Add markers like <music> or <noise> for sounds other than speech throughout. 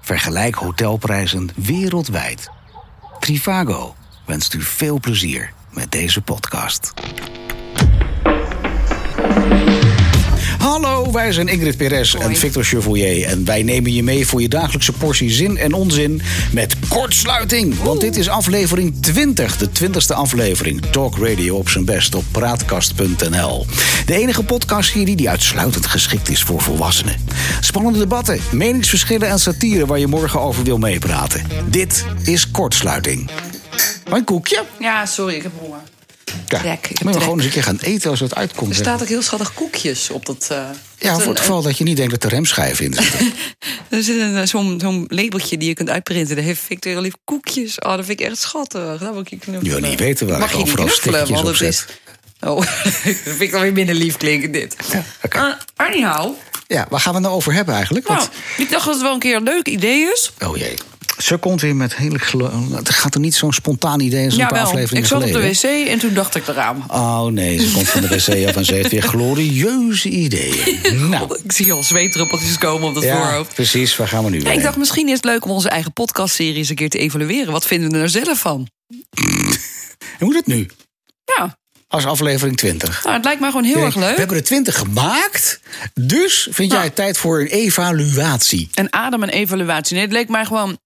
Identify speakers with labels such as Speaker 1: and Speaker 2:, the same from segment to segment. Speaker 1: Vergelijk hotelprijzen wereldwijd. Trivago wenst u veel plezier met deze podcast. Hallo, wij zijn Ingrid Perez en Victor Chevoyer. En wij nemen je mee voor je dagelijkse portie zin en onzin met kortsluiting. Want dit is aflevering 20, de 20ste aflevering. Talk Radio op zijn best op praatkast.nl. De enige podcastserie die uitsluitend geschikt is voor volwassenen. Spannende debatten, meningsverschillen en satire waar je morgen over wil meepraten. Dit is kortsluiting. Mijn koekje.
Speaker 2: Ja, sorry, ik heb honger.
Speaker 1: Ja,
Speaker 2: Trek,
Speaker 1: moet
Speaker 2: ik
Speaker 1: je
Speaker 2: trek.
Speaker 1: maar gewoon eens een keer gaan eten als het uitkomt.
Speaker 2: Er staat ook heel schattig koekjes op dat. eh,
Speaker 1: Ja,
Speaker 2: zo'n-
Speaker 1: voor het geval dat je niet denkt dat er remschijven in
Speaker 2: <laughs>
Speaker 1: zitten.
Speaker 2: Er zit een, eh, zo'n zo'n labeltje die je kunt uitprinten. Daar heeft Victor heel lief koekjes. Oh, dat vind ik echt schattig. Daar wil ik je
Speaker 1: Je
Speaker 2: knuffelen.
Speaker 1: wil niet weten waar
Speaker 2: Mag
Speaker 1: ik
Speaker 2: je niet
Speaker 1: overal
Speaker 2: knuffelen,
Speaker 1: stickertjes
Speaker 2: want
Speaker 1: op
Speaker 2: het is. Oh, <laughs> dat vind ik dan weer minder lief klinken, dit.
Speaker 1: Ja, oké.
Speaker 2: Eh, anyhow,
Speaker 1: Ja, waar gaan we het nou over hebben eigenlijk?
Speaker 2: nou,
Speaker 1: Want,
Speaker 2: ik dacht dat het wel een keer een leuk idee is.
Speaker 1: oh jee. Ze komt weer met hele... gelo- Het gaat er niet zo'n spontaan idee als een paar
Speaker 2: Jawel, ik
Speaker 1: afleveringen
Speaker 2: zat op
Speaker 1: geleden.
Speaker 2: de wc en toen dacht ik eraan.
Speaker 1: Oh nee, ze komt van de wc af en ze heeft weer glorieuze
Speaker 2: <laughs>
Speaker 1: ideeën. Nou,
Speaker 2: Oh, Ik zie al zweetdruppeltjes komen op dat
Speaker 1: ja,
Speaker 2: voorhoofd.
Speaker 1: precies. Waar gaan we nu
Speaker 2: Ja,
Speaker 1: heen?
Speaker 2: ik dacht, misschien is het leuk om onze eigen podcastserie eens een keer te evalueren. Wat vinden we er zelf van?
Speaker 1: Hoe moet dat nu?
Speaker 2: Ja,
Speaker 1: Als aflevering 20.
Speaker 2: nou, het lijkt mij gewoon heel erg
Speaker 1: We
Speaker 2: leuk.
Speaker 1: hebben er 20 gemaakt. Dus vind jij
Speaker 2: Nou.
Speaker 1: het tijd voor een evaluatie?
Speaker 2: En Adam en evaluatie. Nee, het leek mij gewoon...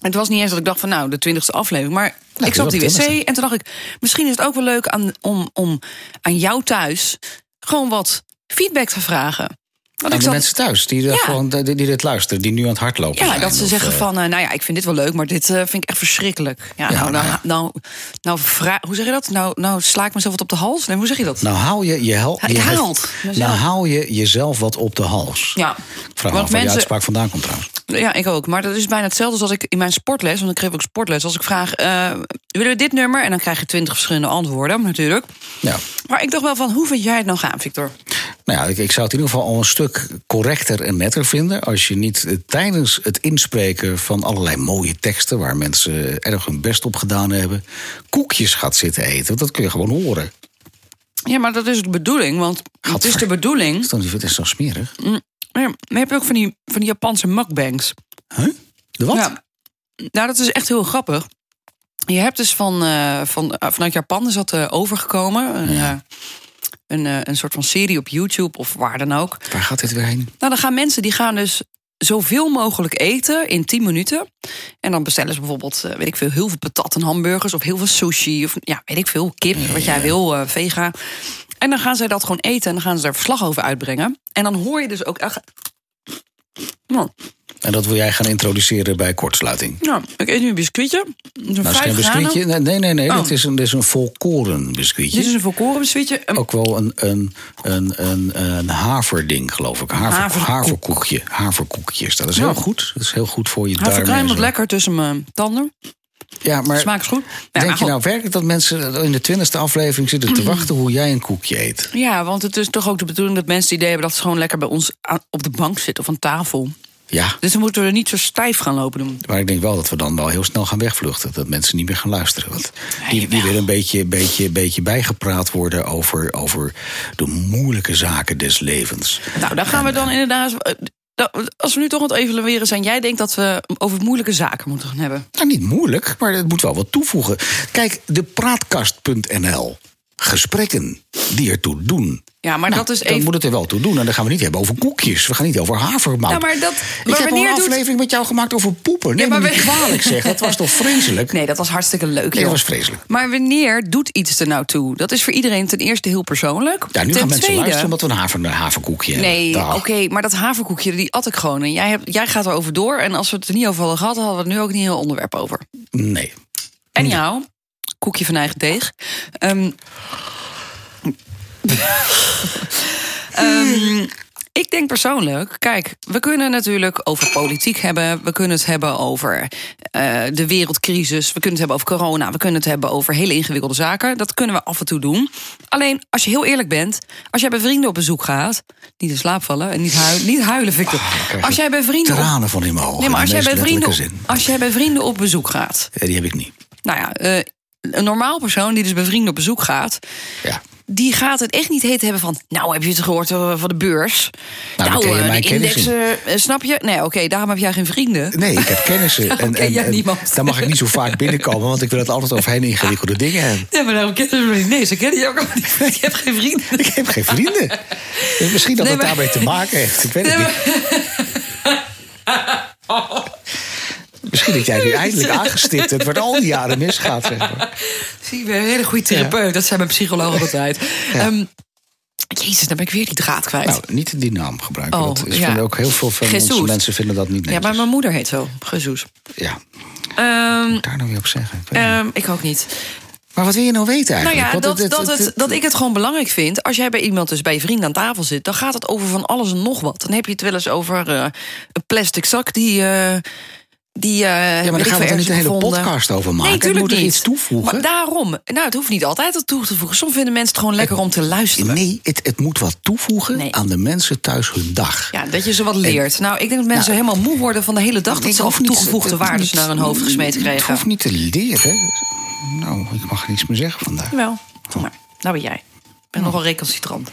Speaker 2: Het was niet eens dat ik dacht van, nou, de twintigste aflevering. Maar ik
Speaker 1: Nou, is
Speaker 2: zat op die
Speaker 1: wel de
Speaker 2: wc en toen dacht ik... misschien is het ook wel leuk aan, om, om aan jou thuis... gewoon wat feedback te vragen. Want
Speaker 1: Aan
Speaker 2: ik
Speaker 1: de
Speaker 2: zat,
Speaker 1: mensen thuis die, er
Speaker 2: Ja.
Speaker 1: gewoon, die, die dit luisteren, die nu aan het hardlopen
Speaker 2: ja,
Speaker 1: zijn.
Speaker 2: dat ze
Speaker 1: Of,
Speaker 2: zeggen
Speaker 1: eh,
Speaker 2: van, eh, nou ja, ik vind dit wel leuk... maar dit eh, vind ik echt verschrikkelijk. Ja, nou, nou, nou, nou, vra- hoe zeg je dat? Nou, nou sla ik mezelf wat op de hals? Nee, hoe zeg je dat?
Speaker 1: Nou haal je, je, hel-
Speaker 2: Ja, ik
Speaker 1: je hel-
Speaker 2: haal het. Mezelf.
Speaker 1: nou haal je jezelf wat op de hals.
Speaker 2: Ja.
Speaker 1: Ik vraag me
Speaker 2: Want
Speaker 1: af waar die
Speaker 2: mensen-
Speaker 1: uitspraak vandaan komt trouwens.
Speaker 2: Ja, ik ook. Maar dat is bijna hetzelfde als als ik in mijn sportles, want ik geef ook sportles, als ik vraag: eh, willen we dit nummer? En dan krijg je twintig verschillende antwoorden, natuurlijk.
Speaker 1: Ja.
Speaker 2: Maar ik dacht wel van: hoe vind jij het nou gaan, Victor?
Speaker 1: Nou ja, ik, ik zou het in ieder geval al een stuk correcter en netter vinden... als je niet eh, tijdens het inspreken van allerlei mooie teksten... waar mensen erg hun best op gedaan hebben... koekjes gaat zitten eten. Want dat kun je gewoon horen.
Speaker 2: Ja, maar dat is de bedoeling, want het is
Speaker 1: Gadver.
Speaker 2: de bedoeling.
Speaker 1: Dus dan is het is toch smerig?
Speaker 2: Maar je hebt ook van die, van die Japanse mukbangs.
Speaker 1: Huh? De wat?
Speaker 2: Ja. Nou, dat is echt heel grappig. Je hebt dus van, eh, van, eh, vanuit Japan is dat eh, overgekomen. Een, eh, een, eh, een soort van serie op YouTube of waar dan ook.
Speaker 1: Waar gaat dit weer heen?
Speaker 2: Nou, dan gaan mensen die gaan dus zoveel mogelijk eten in 10 minuten. En dan bestellen ze bijvoorbeeld, eh, weet ik veel, heel veel patat en hamburgers of heel veel sushi of ja, weet ik veel, kip, wat jij wil, eh, vega. En dan gaan zij dat gewoon eten en dan gaan ze daar verslag over uitbrengen. En dan hoor je dus ook echt. Nou,
Speaker 1: En dat wil jij gaan introduceren bij kortsluiting.
Speaker 2: nou, ik eet nu een biscuitje. Een
Speaker 1: Nou, dat is
Speaker 2: vijf
Speaker 1: geen
Speaker 2: granen.
Speaker 1: biscuitje. Nee, nee, nee. nee.
Speaker 2: Oh.
Speaker 1: Dit, is een, dit is een volkoren biscuitje.
Speaker 2: Dit is een volkoren biscuitje. Ehm, Een
Speaker 1: ook wel een, een, een, een, een haverding, geloof ik. Haver,
Speaker 2: Haverkoek.
Speaker 1: Haverkoekje. Haverkoekjes. Dat is heel
Speaker 2: Ja.
Speaker 1: goed. Dat is heel goed voor je darmen. en
Speaker 2: haverkruim wat
Speaker 1: zo.
Speaker 2: lekker tussen mijn tanden.
Speaker 1: Ja, maar
Speaker 2: Smaak is goed.
Speaker 1: denk
Speaker 2: maar
Speaker 1: je
Speaker 2: goed.
Speaker 1: nou werkelijk dat mensen in de twintigste aflevering zitten
Speaker 2: <clears throat>
Speaker 1: te wachten hoe jij een koekje eet?
Speaker 2: Ja, want het is toch ook de bedoeling dat mensen het idee hebben... dat ze gewoon lekker bij ons aan- op de bank zitten of aan tafel.
Speaker 1: Ja.
Speaker 2: Dus dan moeten we er niet zo stijf gaan lopen doen.
Speaker 1: Maar ik denk wel dat we dan wel heel snel gaan wegvluchten. Dat mensen niet meer gaan luisteren. Want die, die willen een beetje, beetje, beetje bijgepraat worden over, over de moeilijke zaken des levens.
Speaker 2: Nou, daar gaan we dan inderdaad. eh, dat- Als we nu toch aan het evalueren zijn, jij denkt dat we over moeilijke zaken moeten gaan hebben.
Speaker 1: Nou, niet moeilijk, maar het moet wel wat toevoegen. Kijk, de praatkast.nl. Gesprekken die ertoe doen.
Speaker 2: Ja, maar dat is
Speaker 1: Dan
Speaker 2: even-
Speaker 1: Nou, moet het er wel toe doen. En dan gaan we niet hebben over koekjes. We gaan niet over havermout.
Speaker 2: Ja, maar dat-
Speaker 1: Ik heb
Speaker 2: maar
Speaker 1: al een
Speaker 2: wanneer doet-
Speaker 1: aflevering met jou gemaakt over poepen. Nee,
Speaker 2: Ja, maar
Speaker 1: maar niet
Speaker 2: we-
Speaker 1: kwalijk zeg. Dat
Speaker 2: <laughs>
Speaker 1: was toch vreselijk?
Speaker 2: Nee, dat was hartstikke leuk.
Speaker 1: Nee,
Speaker 2: joh.
Speaker 1: dat was vreselijk.
Speaker 2: Maar wanneer doet iets er nou toe? Dat is voor iedereen ten eerste heel persoonlijk.
Speaker 1: Ja, nu
Speaker 2: ten
Speaker 1: gaan mensen
Speaker 2: tweede,
Speaker 1: luisteren omdat we een haver, een haverkoekje
Speaker 2: Nee,
Speaker 1: hebben.
Speaker 2: oké,
Speaker 1: Dag.
Speaker 2: maar dat haverkoekje, die at ik gewoon. En jij, hebt, jij gaat erover door. En als we het er niet over hadden gehad, hadden we het nu ook niet een heel onderwerp over.
Speaker 1: Nee.
Speaker 2: En jou, koekje van eigen deeg. Ehm, <laughs> ehm, ik denk persoonlijk, kijk, we kunnen natuurlijk over politiek hebben. We kunnen het hebben over eh, de wereldcrisis. We kunnen het hebben over corona. We kunnen het hebben over hele ingewikkelde zaken. Dat kunnen we af en toe doen. Alleen, als je heel eerlijk bent, als jij bij vrienden op bezoek gaat, niet in slaap vallen en niet, huilen, niet huilen, Victor.
Speaker 1: krijg
Speaker 2: Als jij bij vrienden. op-
Speaker 1: Tranen van in mijn ogen.
Speaker 2: Nee, maar
Speaker 1: in
Speaker 2: als
Speaker 1: de
Speaker 2: jij, bij
Speaker 1: meest letterlijke
Speaker 2: vrienden,
Speaker 1: zin.
Speaker 2: als jij bij vrienden op bezoek gaat,
Speaker 1: Ja, die heb ik niet.
Speaker 2: eh, nou ja, eh, een normaal persoon die dus bij vrienden op bezoek gaat,
Speaker 1: Ja.
Speaker 2: die gaat het echt niet heet hebben van... nou, heb je het gehoord eh, van de beurs?
Speaker 1: Nou, dan ken je
Speaker 2: eh,
Speaker 1: mijn
Speaker 2: de
Speaker 1: kennis
Speaker 2: indexen, eh, snap je? Nee, oké, daarom heb jij geen vrienden.
Speaker 1: Nee, ik
Speaker 2: <laughs>
Speaker 1: heb kennissen.
Speaker 2: Daarom ken jij niemand.
Speaker 1: daar mag ik niet zo vaak binnenkomen, want ik wil het altijd over hele
Speaker 2: <laughs>
Speaker 1: ingewikkelde dingen hebben.
Speaker 2: Ja, maar daarom kennen ze me niet. Nee, ze kennen je ook allemaal niet. Ik heb geen vrienden.
Speaker 1: Ik heb geen vrienden. Dus misschien dat
Speaker 2: Nee,
Speaker 1: het
Speaker 2: maar-
Speaker 1: daarmee te maken heeft. Ik weet het
Speaker 2: Nee,
Speaker 1: niet. Misschien dat jij nu
Speaker 2: <laughs>
Speaker 1: eindelijk aangestipt hebt wat al die jaren misgaat. Zeg maar.
Speaker 2: Zie, ik ben een hele goede therapeut. Dat zijn mijn
Speaker 1: <laughs>
Speaker 2: psychologen altijd. Ehm, jezus, dan ben ik weer die draad kwijt.
Speaker 1: Nou, niet die naam gebruiken.
Speaker 2: Oh,
Speaker 1: want ik
Speaker 2: ja.
Speaker 1: vind ook heel veel van onze
Speaker 2: Jesus.
Speaker 1: mensen vinden dat niet
Speaker 2: ja,
Speaker 1: netjes.
Speaker 2: maar mijn moeder heet zo. Gezoes.
Speaker 1: Ja, wat
Speaker 2: Ehm,
Speaker 1: moet ik daar nou weer op zeggen? Ik weet het
Speaker 2: ehm, ik ook niet.
Speaker 1: niet. Maar wat wil je nou weten
Speaker 2: Nou
Speaker 1: eigenlijk?
Speaker 2: ja,
Speaker 1: Want
Speaker 2: dat,
Speaker 1: het-
Speaker 2: dat,
Speaker 1: het-
Speaker 2: het,
Speaker 1: het-
Speaker 2: dat ik het gewoon belangrijk vind. Als jij bij iemand, dus bij je vriend aan tafel zit, dan gaat het over van alles en nog wat. Dan heb je het wel eens over eh, een plastic zak die. eh, die, eh
Speaker 1: Ja, maar
Speaker 2: weet
Speaker 1: daar
Speaker 2: ik
Speaker 1: gaan we er
Speaker 2: veel, ergens
Speaker 1: niet een hele
Speaker 2: gevonden.
Speaker 1: podcast over maken.
Speaker 2: Nee,
Speaker 1: ik
Speaker 2: natuurlijk
Speaker 1: moet er
Speaker 2: niet.
Speaker 1: iets toevoegen.
Speaker 2: Maar daarom, nou, het hoeft niet altijd wat toe te voegen. Soms vinden mensen het gewoon lekker om te luisteren.
Speaker 1: Nee, het, het moet wat toevoegen
Speaker 2: Nee.
Speaker 1: aan de mensen thuis hun dag.
Speaker 2: Ja, dat je ze wat leert. Nou, ik denk dat mensen helemaal moe worden van de hele dag... dat
Speaker 1: Ik
Speaker 2: ze
Speaker 1: hoef
Speaker 2: over
Speaker 1: niet-
Speaker 2: toegevoegde
Speaker 1: het-
Speaker 2: waardes
Speaker 1: het-
Speaker 2: naar hun hoofd gesmeten
Speaker 1: Het hoeft
Speaker 2: krijgen.
Speaker 1: niet te leren. Nou, ik mag niets meer zeggen vandaag.
Speaker 2: Wel, doe maar. Nou ben jij. Ik ben nogal recalcitrant.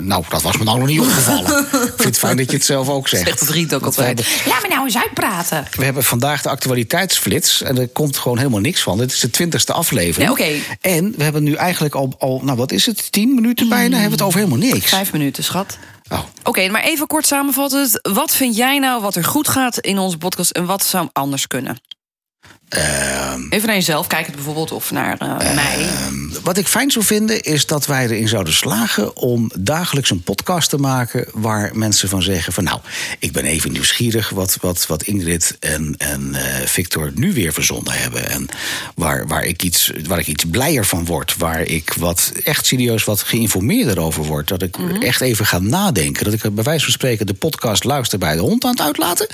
Speaker 1: Nou, dat was me nou nog niet
Speaker 2: <laughs>
Speaker 1: opgevallen. ik vind het fijn dat je het zelf ook zegt.
Speaker 2: Zegt het Riet ook
Speaker 1: Want we
Speaker 2: altijd.
Speaker 1: hebben-
Speaker 2: Laat me nou eens uitpraten.
Speaker 1: We hebben vandaag de actualiteitsflits en er komt gewoon helemaal niks van. Dit is de twintigste aflevering.
Speaker 2: Nee, oké.
Speaker 1: En we hebben nu eigenlijk al, al, nou wat is het, tien minuten bijna,
Speaker 2: Mm.
Speaker 1: hebben we het over helemaal niks.
Speaker 2: Vijf minuten, schat.
Speaker 1: Oh,
Speaker 2: Oké, maar even kort samenvattend. Wat vind jij nou wat er goed gaat in onze podcast... en wat zou anders kunnen?
Speaker 1: Ehm.
Speaker 2: even naar jezelf kijken bijvoorbeeld, of naar eh, mij.
Speaker 1: Wat ik fijn zou vinden is dat wij erin zouden slagen om dagelijks een podcast te maken waar mensen van zeggen van nou, ik ben even nieuwsgierig wat, wat, wat Ingrid en, en eh, Victor nu weer verzonnen hebben. En waar, waar, ik iets, waar ik iets blijer van word, waar ik wat echt serieus wat geïnformeerder over word. Dat ik
Speaker 2: Mhm.
Speaker 1: echt even ga nadenken. Dat ik bij wijze van spreken de podcast luister bij de hond aan het uitlaten.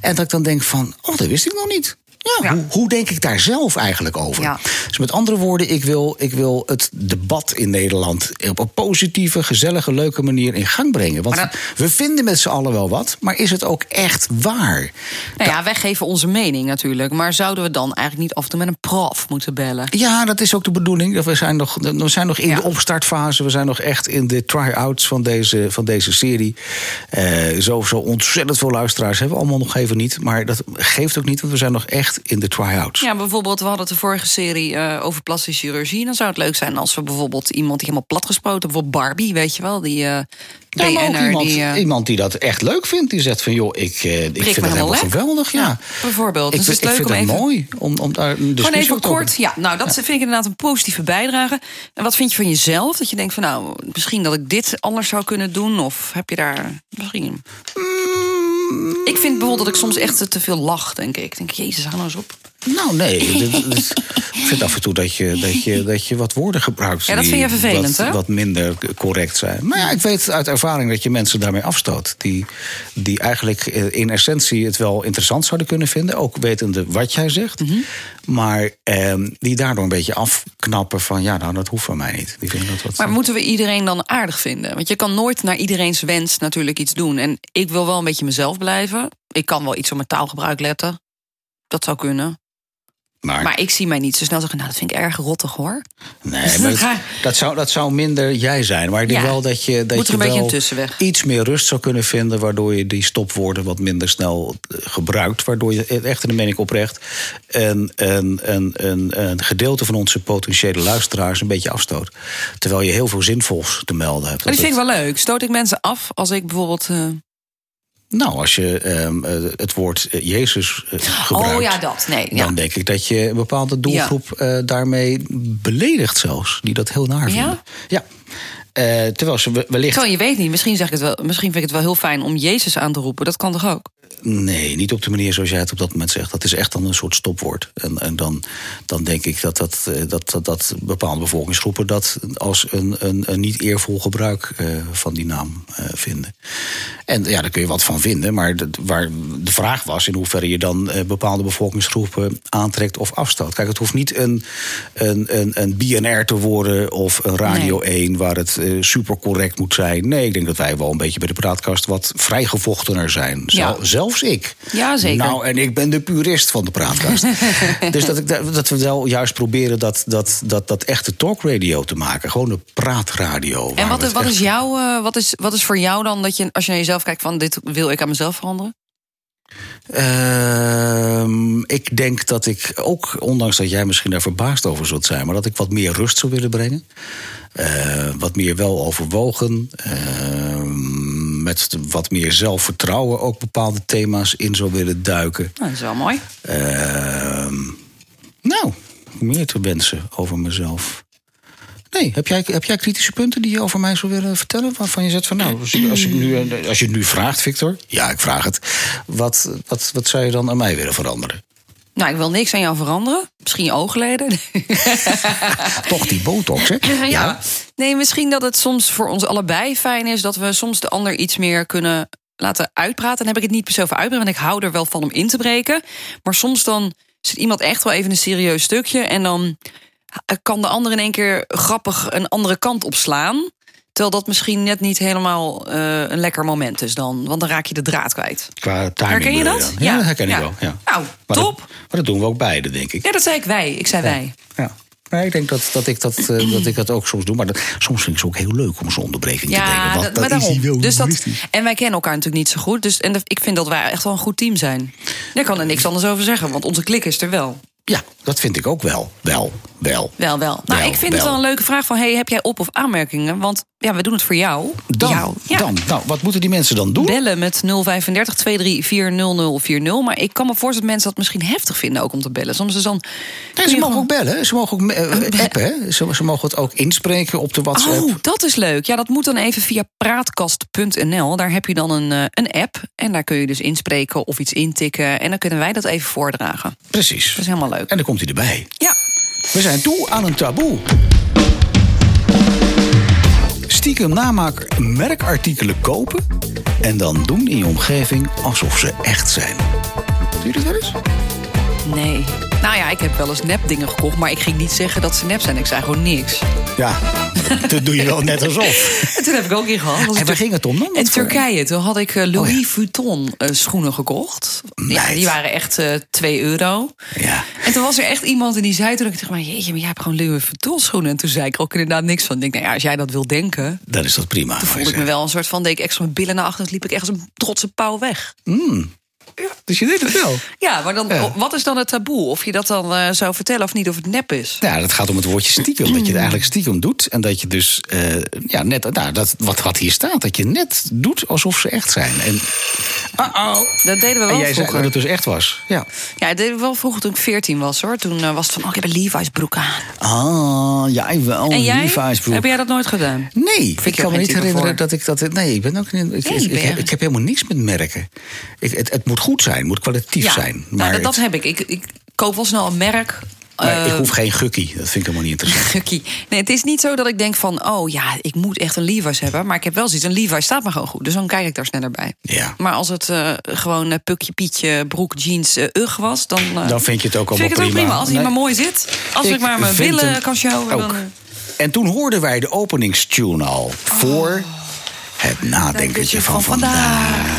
Speaker 1: En dat ik dan denk van, oh dat wist ik nog niet. Ja,
Speaker 2: Ja.
Speaker 1: Hoe, hoe denk ik daar zelf eigenlijk over?
Speaker 2: Ja.
Speaker 1: Dus met andere woorden, ik wil, ik wil het debat in Nederland op een positieve, gezellige, leuke manier in gang brengen. Want
Speaker 2: Maar dat-
Speaker 1: we vinden met z'n allen wel wat, maar is het ook echt waar?
Speaker 2: Nou ja, wij geven onze mening natuurlijk. Maar zouden we dan eigenlijk niet af en toe met een prof moeten bellen?
Speaker 1: Ja, dat is ook de bedoeling. We zijn nog, we zijn nog in
Speaker 2: Ja.
Speaker 1: de opstartfase. We zijn nog echt in de try-outs van deze, van deze serie. Eh, zo, zo ontzettend veel luisteraars hebben we allemaal nog even niet. Maar dat geeft ook niet, want we zijn nog echt in de try-outs.
Speaker 2: Ja, bijvoorbeeld, we hadden het de vorige serie eh, over plastische chirurgie. Dan zou het leuk zijn als we bijvoorbeeld iemand die helemaal platgespoten... bijvoorbeeld Barbie, weet je wel, die eh
Speaker 1: Ja, maar ook
Speaker 2: BN'er...
Speaker 1: iemand,
Speaker 2: die, eh,
Speaker 1: iemand die dat echt leuk vindt. Die zegt van, joh, ik, eh, ik vind
Speaker 2: me
Speaker 1: het helemaal
Speaker 2: helemaal lek.
Speaker 1: geweldig. Ja.
Speaker 2: Ja, bijvoorbeeld.
Speaker 1: Ik,
Speaker 2: Dus
Speaker 1: vind-
Speaker 2: het is
Speaker 1: ik
Speaker 2: leuk
Speaker 1: vind
Speaker 2: om
Speaker 1: het mooi
Speaker 2: even-
Speaker 1: om, om daar een
Speaker 2: Gewoon
Speaker 1: discussie
Speaker 2: even
Speaker 1: ook over-
Speaker 2: kort. Ja, nou, dat vind ik inderdaad een positieve bijdrage. En wat vind je van jezelf? Dat je denkt van, nou, misschien dat ik dit anders zou kunnen doen? Of heb je daar misschien... Ik vind bijvoorbeeld dat ik soms echt te- te veel lach, denk ik. Ik denk, jezus, hou nou eens op.
Speaker 1: Nou,
Speaker 2: <laughs>
Speaker 1: nee. dit- dit- ik vind af en toe dat je, dat je, dat je wat woorden gebruikt.
Speaker 2: Ja, dat
Speaker 1: die
Speaker 2: vind je vervelend,
Speaker 1: wat,
Speaker 2: hè?
Speaker 1: Wat minder correct zijn. Maar ja, ik weet uit ervaring dat je mensen daarmee afstoot. Die, die eigenlijk eh, in essentie het wel interessant zouden kunnen vinden. Ook wetende wat jij zegt.
Speaker 2: Mhm.
Speaker 1: Maar ehm, die daardoor een beetje afknappen van... ja, nou, dat hoeft van mij niet. Die vinden dat wat...
Speaker 2: Maar moeten we iedereen dan aardig vinden? Want je kan nooit naar iedereen's wens natuurlijk iets doen. En ik wil wel een beetje mezelf blijven. Ik kan wel iets op mijn taalgebruik letten. Dat zou kunnen.
Speaker 1: maar-
Speaker 2: Maar ik zie mij niet zo snel zeggen, nou, dat vind ik erg rottig, hoor.
Speaker 1: Nee, maar
Speaker 2: dat ga-
Speaker 1: dat, dat zou, dat zou minder jij zijn. Maar ik denk
Speaker 2: Ja.
Speaker 1: wel dat je, dat
Speaker 2: Moet
Speaker 1: je
Speaker 2: er een beetje
Speaker 1: wel
Speaker 2: een tussenweg.
Speaker 1: iets meer rust zou kunnen vinden... waardoor je die stopwoorden wat minder snel eh, gebruikt. Waardoor je eh, echt, en dat meen ik oprecht... Een, een, een, een, een gedeelte van onze potentiële luisteraars een beetje afstoot. Terwijl je heel veel zinvols te melden hebt.
Speaker 2: Maar
Speaker 1: Dat
Speaker 2: dat vind ik wel leuk. Stoot ik mensen af als ik bijvoorbeeld... eh,
Speaker 1: het- Nou, als je ehm, eh, het woord eh, Jezus eh, gebruikt...
Speaker 2: Oh ja, dat. Nee, ja.
Speaker 1: Dan denk ik dat je een bepaalde doelgroep eh, daarmee beledigt zelfs. Die dat heel naar
Speaker 2: Ja?
Speaker 1: vinden. Ja. Eh, terwijl ze we- wellicht
Speaker 2: Terwijl je weet niet, misschien, zeg ik het wel, misschien vind ik het wel heel fijn om Jezus aan te roepen. Dat kan toch ook?
Speaker 1: Nee, niet op de manier zoals jij het op dat moment zegt. Dat is echt dan een soort stopwoord. En, en dan, dan denk ik dat, dat, eh, dat, dat, dat bepaalde bevolkingsgroepen dat als een, een, een niet eervol gebruik eh, van die naam eh, vinden. En ja, daar kun je wat van vinden, maar dat- waar de vraag was in hoeverre je dan eh, bepaalde bevolkingsgroepen aantrekt of afstoot. Kijk, het hoeft niet een, een, een, een BNR te worden of een Radio 1 waar het eh, super correct moet zijn. Nee, ik denk dat wij wel een beetje bij de praatkast wat vrijgevochtener zijn.
Speaker 2: Ja.
Speaker 1: Zel- Zelfs ik.
Speaker 2: Ja, zeker.
Speaker 1: Nou, en ik ben de purist van de
Speaker 2: <laughs>
Speaker 1: praatkast. dus dat, ik, da- dat we wel juist proberen dat, dat, dat, dat echte talkradio te maken. Gewoon een praatradio.
Speaker 2: En
Speaker 1: waar
Speaker 2: wat,
Speaker 1: we het
Speaker 2: wat,
Speaker 1: echt-
Speaker 2: is jouw, eh, wat, is, wat is voor jou dan dat je, als je naar jezelf kijkt, van dit wil ik aan mezelf veranderen?
Speaker 1: Ehm, ik denk dat ik ook, ondanks dat jij misschien daar verbaasd over zult zijn, maar dat ik wat meer rust zou willen brengen. Eh, wat meer wel overwogen. ehm, met wat meer zelfvertrouwen ook bepaalde thema's in zou willen duiken.
Speaker 2: Nou, dat is wel mooi.
Speaker 1: Ehm, nou, meer te wensen over mezelf. Nee, heb jij, heb jij kritische punten die je over mij zou willen vertellen? Waarvan je zegt van nou, als je, als je, nu, als je het nu vraagt, Victor. Ja, ik vraag het. Wat, wat, wat zou je dan aan mij willen veranderen?
Speaker 2: Nou, ik wil niks aan jou veranderen. Misschien je oogleden.
Speaker 1: Toch die botox, hè?
Speaker 2: ja. Nee, misschien dat het soms voor ons allebei fijn is dat we soms de ander iets meer kunnen laten uitpraten. Dan heb ik het niet per se over uitbreken, want ik hou er wel van om in te breken. Maar soms dan zit iemand echt wel even in een serieus stukje en dan kan de ander in één keer grappig een andere kant opslaan. Terwijl dat misschien net niet helemaal eh, een lekker moment is dan. Want dan raak je de draad kwijt.
Speaker 1: Qua timing
Speaker 2: Herken je
Speaker 1: bedoel
Speaker 2: dat?
Speaker 1: dan? Ja,
Speaker 2: Ja.
Speaker 1: dat herken
Speaker 2: Ja.
Speaker 1: ik wel. Ja.
Speaker 2: Nou,
Speaker 1: Maar
Speaker 2: top.
Speaker 1: Dat, maar dat doen we ook beide, denk ik.
Speaker 2: Ja, dat zei ik wij. Ik zei wij.
Speaker 1: Ja. Nee, ik denk dat, dat, ik dat, eh, dat ik dat ook soms doe. Maar dat, soms vind ik het ook heel leuk om zo'n onderbreking te brengen. Want
Speaker 2: dat- maar
Speaker 1: is
Speaker 2: daarom.
Speaker 1: hij wel
Speaker 2: dus dat,
Speaker 1: humoristisch.
Speaker 2: en wij kennen elkaar natuurlijk niet zo goed. Dus, en dat- ik vind dat wij echt wel een goed team zijn. Daar kan er niks anders over zeggen, want onze klik is er wel.
Speaker 1: Ja, dat vind ik ook wel. Wel, wel.
Speaker 2: Wel, wel. Nou,
Speaker 1: Wel,
Speaker 2: ik vind
Speaker 1: wel.
Speaker 2: het wel een leuke vraag van... Hey, heb jij op- of aanmerkingen? Want ja, we doen het voor jou.
Speaker 1: Dan,
Speaker 2: jou. Ja.
Speaker 1: dan. Nou, wat moeten die mensen dan doen?
Speaker 2: Bellen met 035 234 0040. Maar ik kan me voorstellen dat mensen dat misschien heftig vinden ook om te bellen. Soms is dan.
Speaker 1: Nee,
Speaker 2: kun je
Speaker 1: ze mogen
Speaker 2: gewoon-
Speaker 1: ook bellen. hè. Ze mogen ook eh, appen. hè. Ze, ze mogen het ook inspreken op de WhatsApp.
Speaker 2: Oh, dat is leuk. Ja, dat moet dan even via praatkast.nl. Daar heb je dan een, eh, een app. En daar kun je dus inspreken of iets intikken. En dan kunnen wij dat even voordragen.
Speaker 1: Precies.
Speaker 2: Dat is helemaal leuk.
Speaker 1: En dan komt hij erbij.
Speaker 2: Ja.
Speaker 1: We zijn toe aan een taboe. Stiekem namaak merkartikelen kopen... en dan doen in je omgeving alsof ze echt zijn. Doe je dat wel eens?
Speaker 2: Nee. Nou ja, ik heb wel eens nep dingen gekocht. Maar ik ging niet zeggen dat ze nep zijn. Ik zei gewoon niks.
Speaker 1: Ja, dat doe je wel net alsof.
Speaker 2: En <laughs> toen heb ik ook in gehad. was
Speaker 1: En waar
Speaker 2: Tur-
Speaker 1: ging het om dan?
Speaker 2: In Turkije, toen had ik eh, Louis
Speaker 1: Oh ja.
Speaker 2: Vuitton eh, schoenen gekocht. Ja,
Speaker 1: Meid.
Speaker 2: die waren echt eh 2 euro.
Speaker 1: Ja.
Speaker 2: En toen was er echt iemand en die zei toen ook tegen mij... jeetje, maar jij hebt gewoon Louis Vuitton schoenen. En toen zei ik er ook inderdaad niks van. Ik denk, nou ja, als jij dat wil denken...
Speaker 1: Dan is dat prima. maar
Speaker 2: voelde ik me
Speaker 1: zeg.
Speaker 2: wel een soort van... deed ik extra mijn billen naar achteren... liep ik echt als een trotse pauw weg.
Speaker 1: Dus je deed het wel?
Speaker 2: Ja, maar dan,
Speaker 1: Ja.
Speaker 2: wat is dan het taboe? Of je dat dan eh, zou vertellen of niet, of het nep is?
Speaker 1: Ja, dat gaat om het woordje stiekem. Dat je
Speaker 2: Hmm.
Speaker 1: het eigenlijk stiekem doet. En dat je dus eh, ja, net, nou, dat, wat, wat hier staat, dat je net doet alsof ze echt zijn. En, Uh-oh.
Speaker 2: Dat deden we wel
Speaker 1: en jij zei
Speaker 2: vroeger.
Speaker 1: dat het dus echt was. Ja.
Speaker 2: Ja, dat deden we wel vroeger toen ik 14 was, hoor. Toen eh, was het van, oh, ik heb een Levi's broek aan.
Speaker 1: Ah, jij wel.
Speaker 2: en jij?
Speaker 1: Levi's broek.
Speaker 2: Heb jij dat nooit gedaan?
Speaker 1: Nee, ik
Speaker 2: je ook
Speaker 1: kan me
Speaker 2: geen
Speaker 1: niet
Speaker 2: type
Speaker 1: herinneren
Speaker 2: voor?
Speaker 1: dat ik dat... Nee, ik ben ook niet... Ik,
Speaker 2: Nee,
Speaker 1: ik,
Speaker 2: je
Speaker 1: ik,
Speaker 2: bent-
Speaker 1: ik heb helemaal niks met merken. Ik, het, het moet goed zijn, het moet kwalitatief
Speaker 2: ja,
Speaker 1: zijn.
Speaker 2: nou, dat,
Speaker 1: Maar,
Speaker 2: dat
Speaker 1: ik,
Speaker 2: heb ik. ik. Ik koop wel snel een merk. <laughs>
Speaker 1: maar ik
Speaker 2: eh,
Speaker 1: hoef geen gukkie. Dat vind ik helemaal niet
Speaker 2: <laughs>
Speaker 1: interessant.
Speaker 2: Gukkie. Nee, het is niet zo dat ik denk van, oh ja, ik moet echt een Levi's hebben. Maar ik heb wel zoiets, een Levi's staat me gewoon goed. Dus dan kijk ik daar sneller bij.
Speaker 1: Ja.
Speaker 2: Maar als het eh, gewoon eh, pukje, pietje, broek, jeans, eh, ugh was, dan, eh,
Speaker 1: Dan vind je het ook
Speaker 2: vind
Speaker 1: allemaal
Speaker 2: ik het ook prima.
Speaker 1: prima.
Speaker 2: Als hij
Speaker 1: Nee.
Speaker 2: maar mooi zit. Als ik, maar mijn
Speaker 1: vind
Speaker 2: billen
Speaker 1: hem
Speaker 2: kan showen.
Speaker 1: ook.
Speaker 2: Dan, eh,
Speaker 1: En toen hoorden wij de openingstune al
Speaker 2: Oh.
Speaker 1: voor het nadenkertje van, vandaag.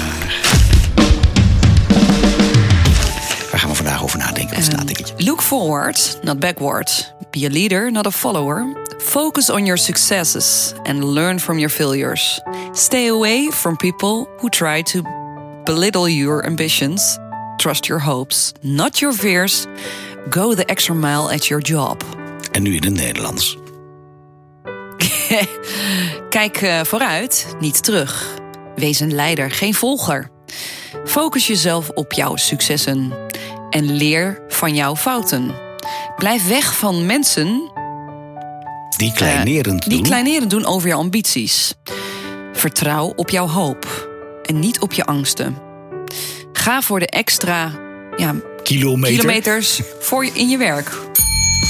Speaker 1: Waar gaan we vandaag over nadenken? Wat is het
Speaker 2: Eh.
Speaker 1: nadenkertje?
Speaker 2: Look forward, not backward. Be a leader, not a follower. Focus on your successes and learn from your failures. Stay away from people who try to belittle your ambitions. Trust your hopes, not your fears. Go the extra mile at your job.
Speaker 1: En nu in het Nederlands.
Speaker 2: <laughs> Kijk eh, vooruit, niet terug. Wees een leider, geen volger. Focus jezelf op jouw successen en leer van jouw fouten. Blijf weg van mensen eh,
Speaker 1: Die kleinerend
Speaker 2: die
Speaker 1: doen.
Speaker 2: kleinerend doen over jouw ambities. Vertrouw op jouw hoop en niet op je angsten. Ga voor de extra ja,
Speaker 1: kilometer.
Speaker 2: kilometers voor je, in je werk.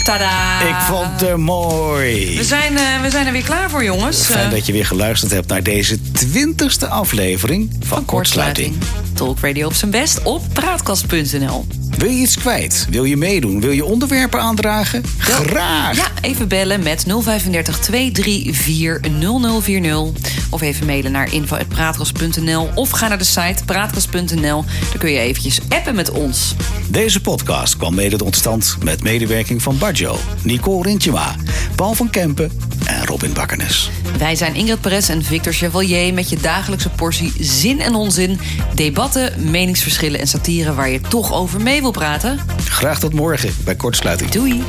Speaker 2: Tada!
Speaker 1: Ik vond
Speaker 2: Ah.
Speaker 1: het mooi.
Speaker 2: we, zijn, eh, we zijn er weer klaar voor, jongens.
Speaker 1: Fijn
Speaker 2: Eh,
Speaker 1: dat je weer geluisterd hebt naar deze twintigste aflevering van, Kortsluiting.
Speaker 2: kortsluiting. Talk Radio op zijn best op praatkast.nl.
Speaker 1: Wil je iets kwijt? Wil je meedoen? Wil je onderwerpen aandragen? Graag!
Speaker 2: Ja, even bellen met 035 234 0040. Of even mailen naar info.praatkast.nl. Of ga naar de site praatkast.nl. Daar kun je eventjes appen met ons.
Speaker 1: Deze podcast kwam mede tot stand met medewerking van Baggio, Nicole Rintjema, Paul van Kempen en Robin Bakkernes.
Speaker 2: Wij zijn Ingrid Perez en Victor Chevalier met je dagelijkse portie zin en onzin. Debatten, meningsverschillen en satire waar je toch over mee wil praten.
Speaker 1: Graag tot morgen bij Kortsluiting.
Speaker 2: Doei!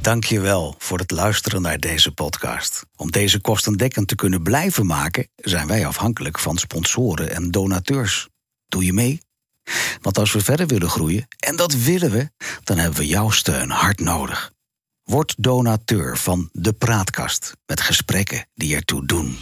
Speaker 1: Dank je wel voor het luisteren naar deze podcast. Om deze kostendekkend te kunnen blijven maken, zijn wij afhankelijk van sponsoren en donateurs. Doe je mee? Want als we verder willen groeien, en dat willen we, dan hebben we jouw steun hard nodig. Word donateur van De Praatkast met gesprekken die ertoe doen.